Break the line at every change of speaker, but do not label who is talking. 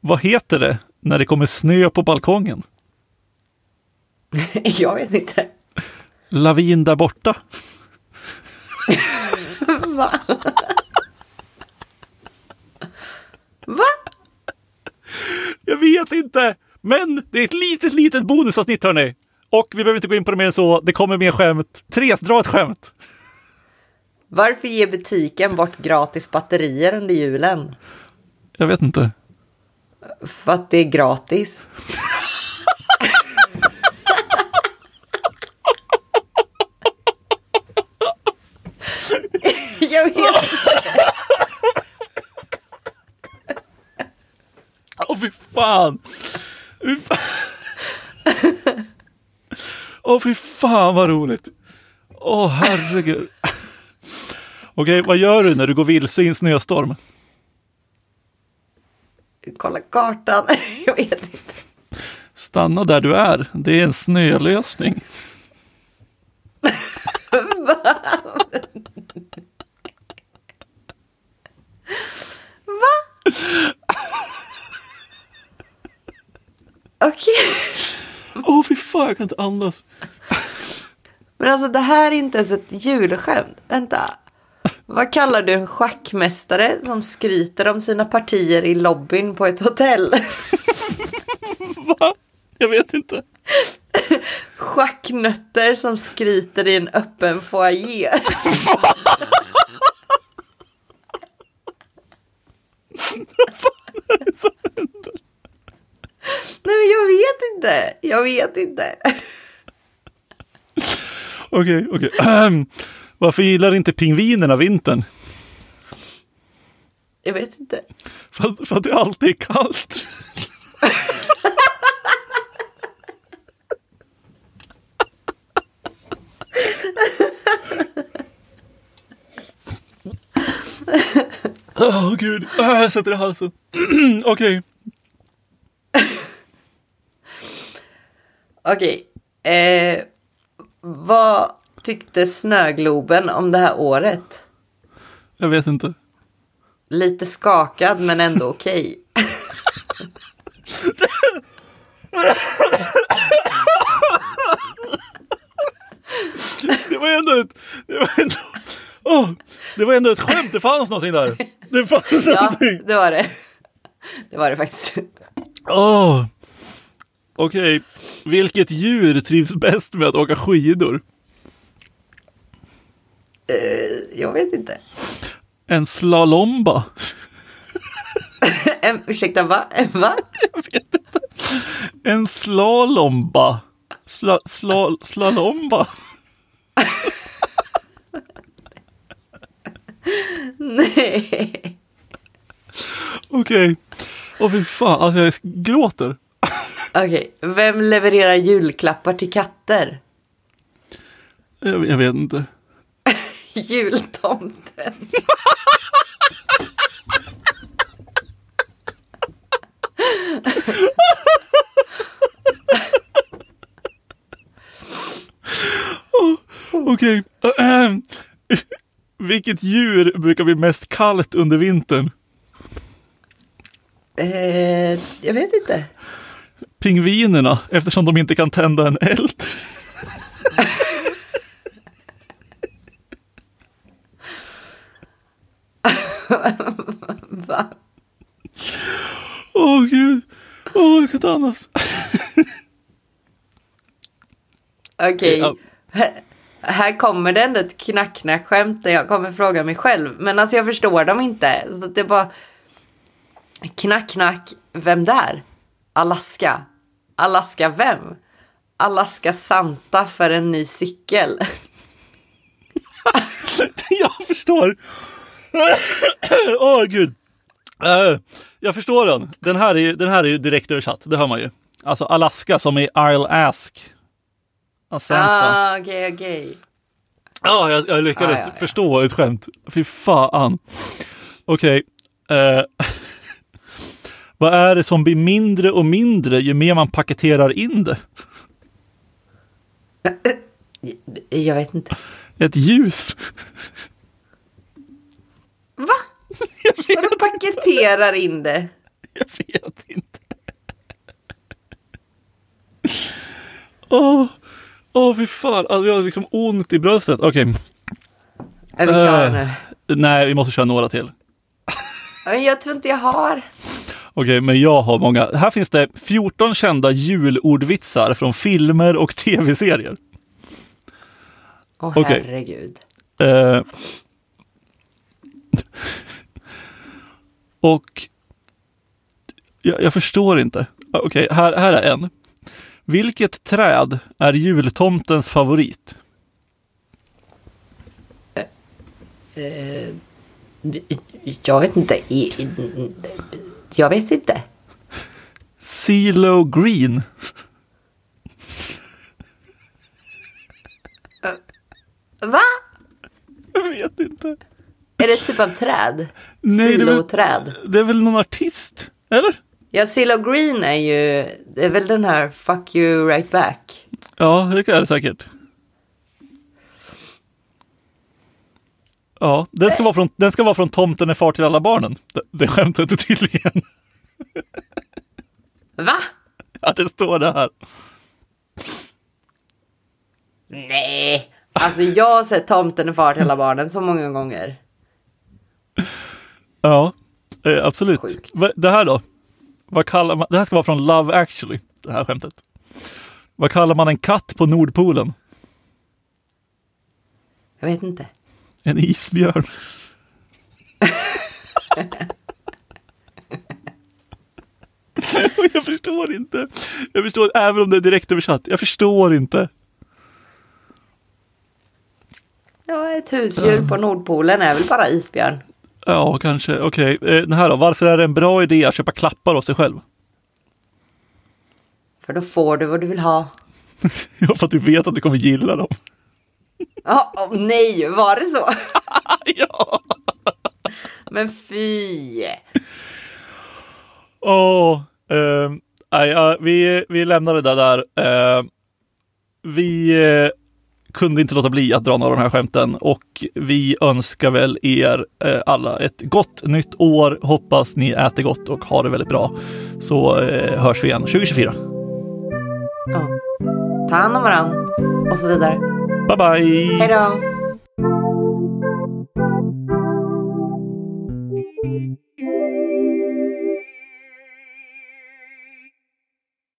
Vad heter det när det kommer snö på balkongen?
Jag vet inte.
Lavin där borta?
Va? Va?
Jag vet inte! Men det är ett litet, litet bonusavsnitt hörni. Och vi behöver inte gå in på det mer än så. Det kommer mer skämt. Therese, dra ett skämt.
Varför ger butiken bort gratis batterier under julen?
Jag vet inte.
För att det är gratis. Jag vet inte.
Åh fy fan! Fy fan. Åh fy fan vad roligt! Åh herregud! Okej, vad gör du när du går vilse i en snöstorm?
Kolla kartan. Jag vet inte.
Stanna där du är. Det är en snölösning.
Okej.
Åh fy fan, jag kan inte andas.
Men alltså det här är inte ens ett julskämt. Vänta. Vad kallar du en schackmästare som skryter om sina partier i lobbyn på ett hotell?
Va? Jag vet inte.
Schacknötter som skryter i en öppen foyer. Nej men jag vet inte. Jag vet inte.
Okej, okej. Ahem. Varför gillar inte pingvinerna vintern?
Jag vet inte.
För, att- för att det alltid är kallt. Åh gud, Ah, jag sätter i halsen. Okej,
Okej. Eh, vad tyckte Snögloben om det här året?
jag vet inte.
Lite skakad men ändå okej.
Det var ändå ett... Det var ändå, Åh, det var ändå ett skämt, det fanns någonting där. Det fanns
Ja,
någonting.
det var det. Det var det faktiskt.
Åh. Okej, vilket djur trivs bäst med att åka skidor?
Eh, jag vet inte.
En slalomba?
En, ursäkta, va? En, va?
En slalomba? Sla, sla, slalomba?
Nej.
Okej. Åh fy fan, alltså jag gråter.
Okej, vem levererar julklappar till katter?
Jag, jag vet inte.
Jultomten.
Okej. Ahem. Vilket djur brukar bli mest kallt under vintern?
Eh, jag vet inte.
Pingvinerna, eftersom de inte kan tända en eld.
Va?
Åh gud. Åh, jag kan inte andas.
Okej.
Eh, Ja.
Här- Här kommer det ändå ett knack-knack-skämt där jag kommer fråga mig själv. Men alltså jag förstår dem inte. Så att det är bara... Knack-knack, vem där? Alaska. Alaska vem? Alaska Santa för en ny cykel.
Jag förstår. Åh gud. Eh, jag förstår den. Den här, är ju, den här är ju direkt översatt, det hör man ju. Alltså Alaska som är I'll ask. Asanta.
Ah, okej, okej.
Ja, jag, jag lyckades
Ah, ja, ja.
förstå ett skämt. Fy fan. Okej. eh, vad är det som blir mindre och mindre ju mer man paketerar in det?
Jag vet inte.
Ett ljus.
Va? Vadå paketerar in det?
Jag vet inte. Åh, åh fy fan. Alltså, jag har liksom ont i bröstet. Okej,
Är vi klara
Eh.
nu?
nej, vi måste köra några till.
Ja, Men jag tror inte jag har.
Okej, men jag har många. Här finns det 14 kända julordvitsar från filmer och tv-serier.
Åh
Okej.
herregud.
Eh, och jag, jag förstår inte. Ah, Okej, här, här är en. Vilket träd är jultomtens favorit?
Eh, Jag vet inte. I- i- Jag vet inte.
CeeLo Green.
Va?
Jag vet inte.
Är det ett typ av träd?
Nej, det är väl-
Siloträd.
Det är väl någon artist? Eller?
Ja, Silo Green är ju, det är väl den här Fuck you right back.
Ja, det är det säkert. Ja, den ska, vara från, den ska vara från Tomten är far till alla barnen. Det, det skämtet är tydligen.
Va?
Ja, det står det här.
Nej. Alltså jag har sett Tomten är far till alla barnen så många gånger.
Ja, eh, absolut.
Sjukt.
Va- Det här då? Vad kallar man, det här ska vara från Love actually, det här skämtet. Vad kallar man en katt på Nordpolen?
Jag vet inte.
En isbjörn. jag förstår inte. Jag förstår, även om det är direkt översatt. Jag förstår inte.
Ja, ett husdjur på Nordpolen är väl bara isbjörn.
Ja, kanske. Okej, eh, den här då. Varför är det en bra idé att köpa klappar åt sig själv?
För då får du vad du vill ha.
Ja, för att du vet att du kommer gilla dem.
Ja, åh, nej, var det så?
ja!
Men fy!
Åh! ehm, nej, ja, vi, vi lämnar det där. där. Ehm, vi eh, kunde inte låta bli att dra några av de här skämten och vi önskar väl er eh, alla ett gott nytt år. Hoppas ni äter gott och har det väldigt bra. Så eh, hörs vi igen 2024.
Ja. Ta hand om varandra. Och så vidare.
Bye bye!
Hej då!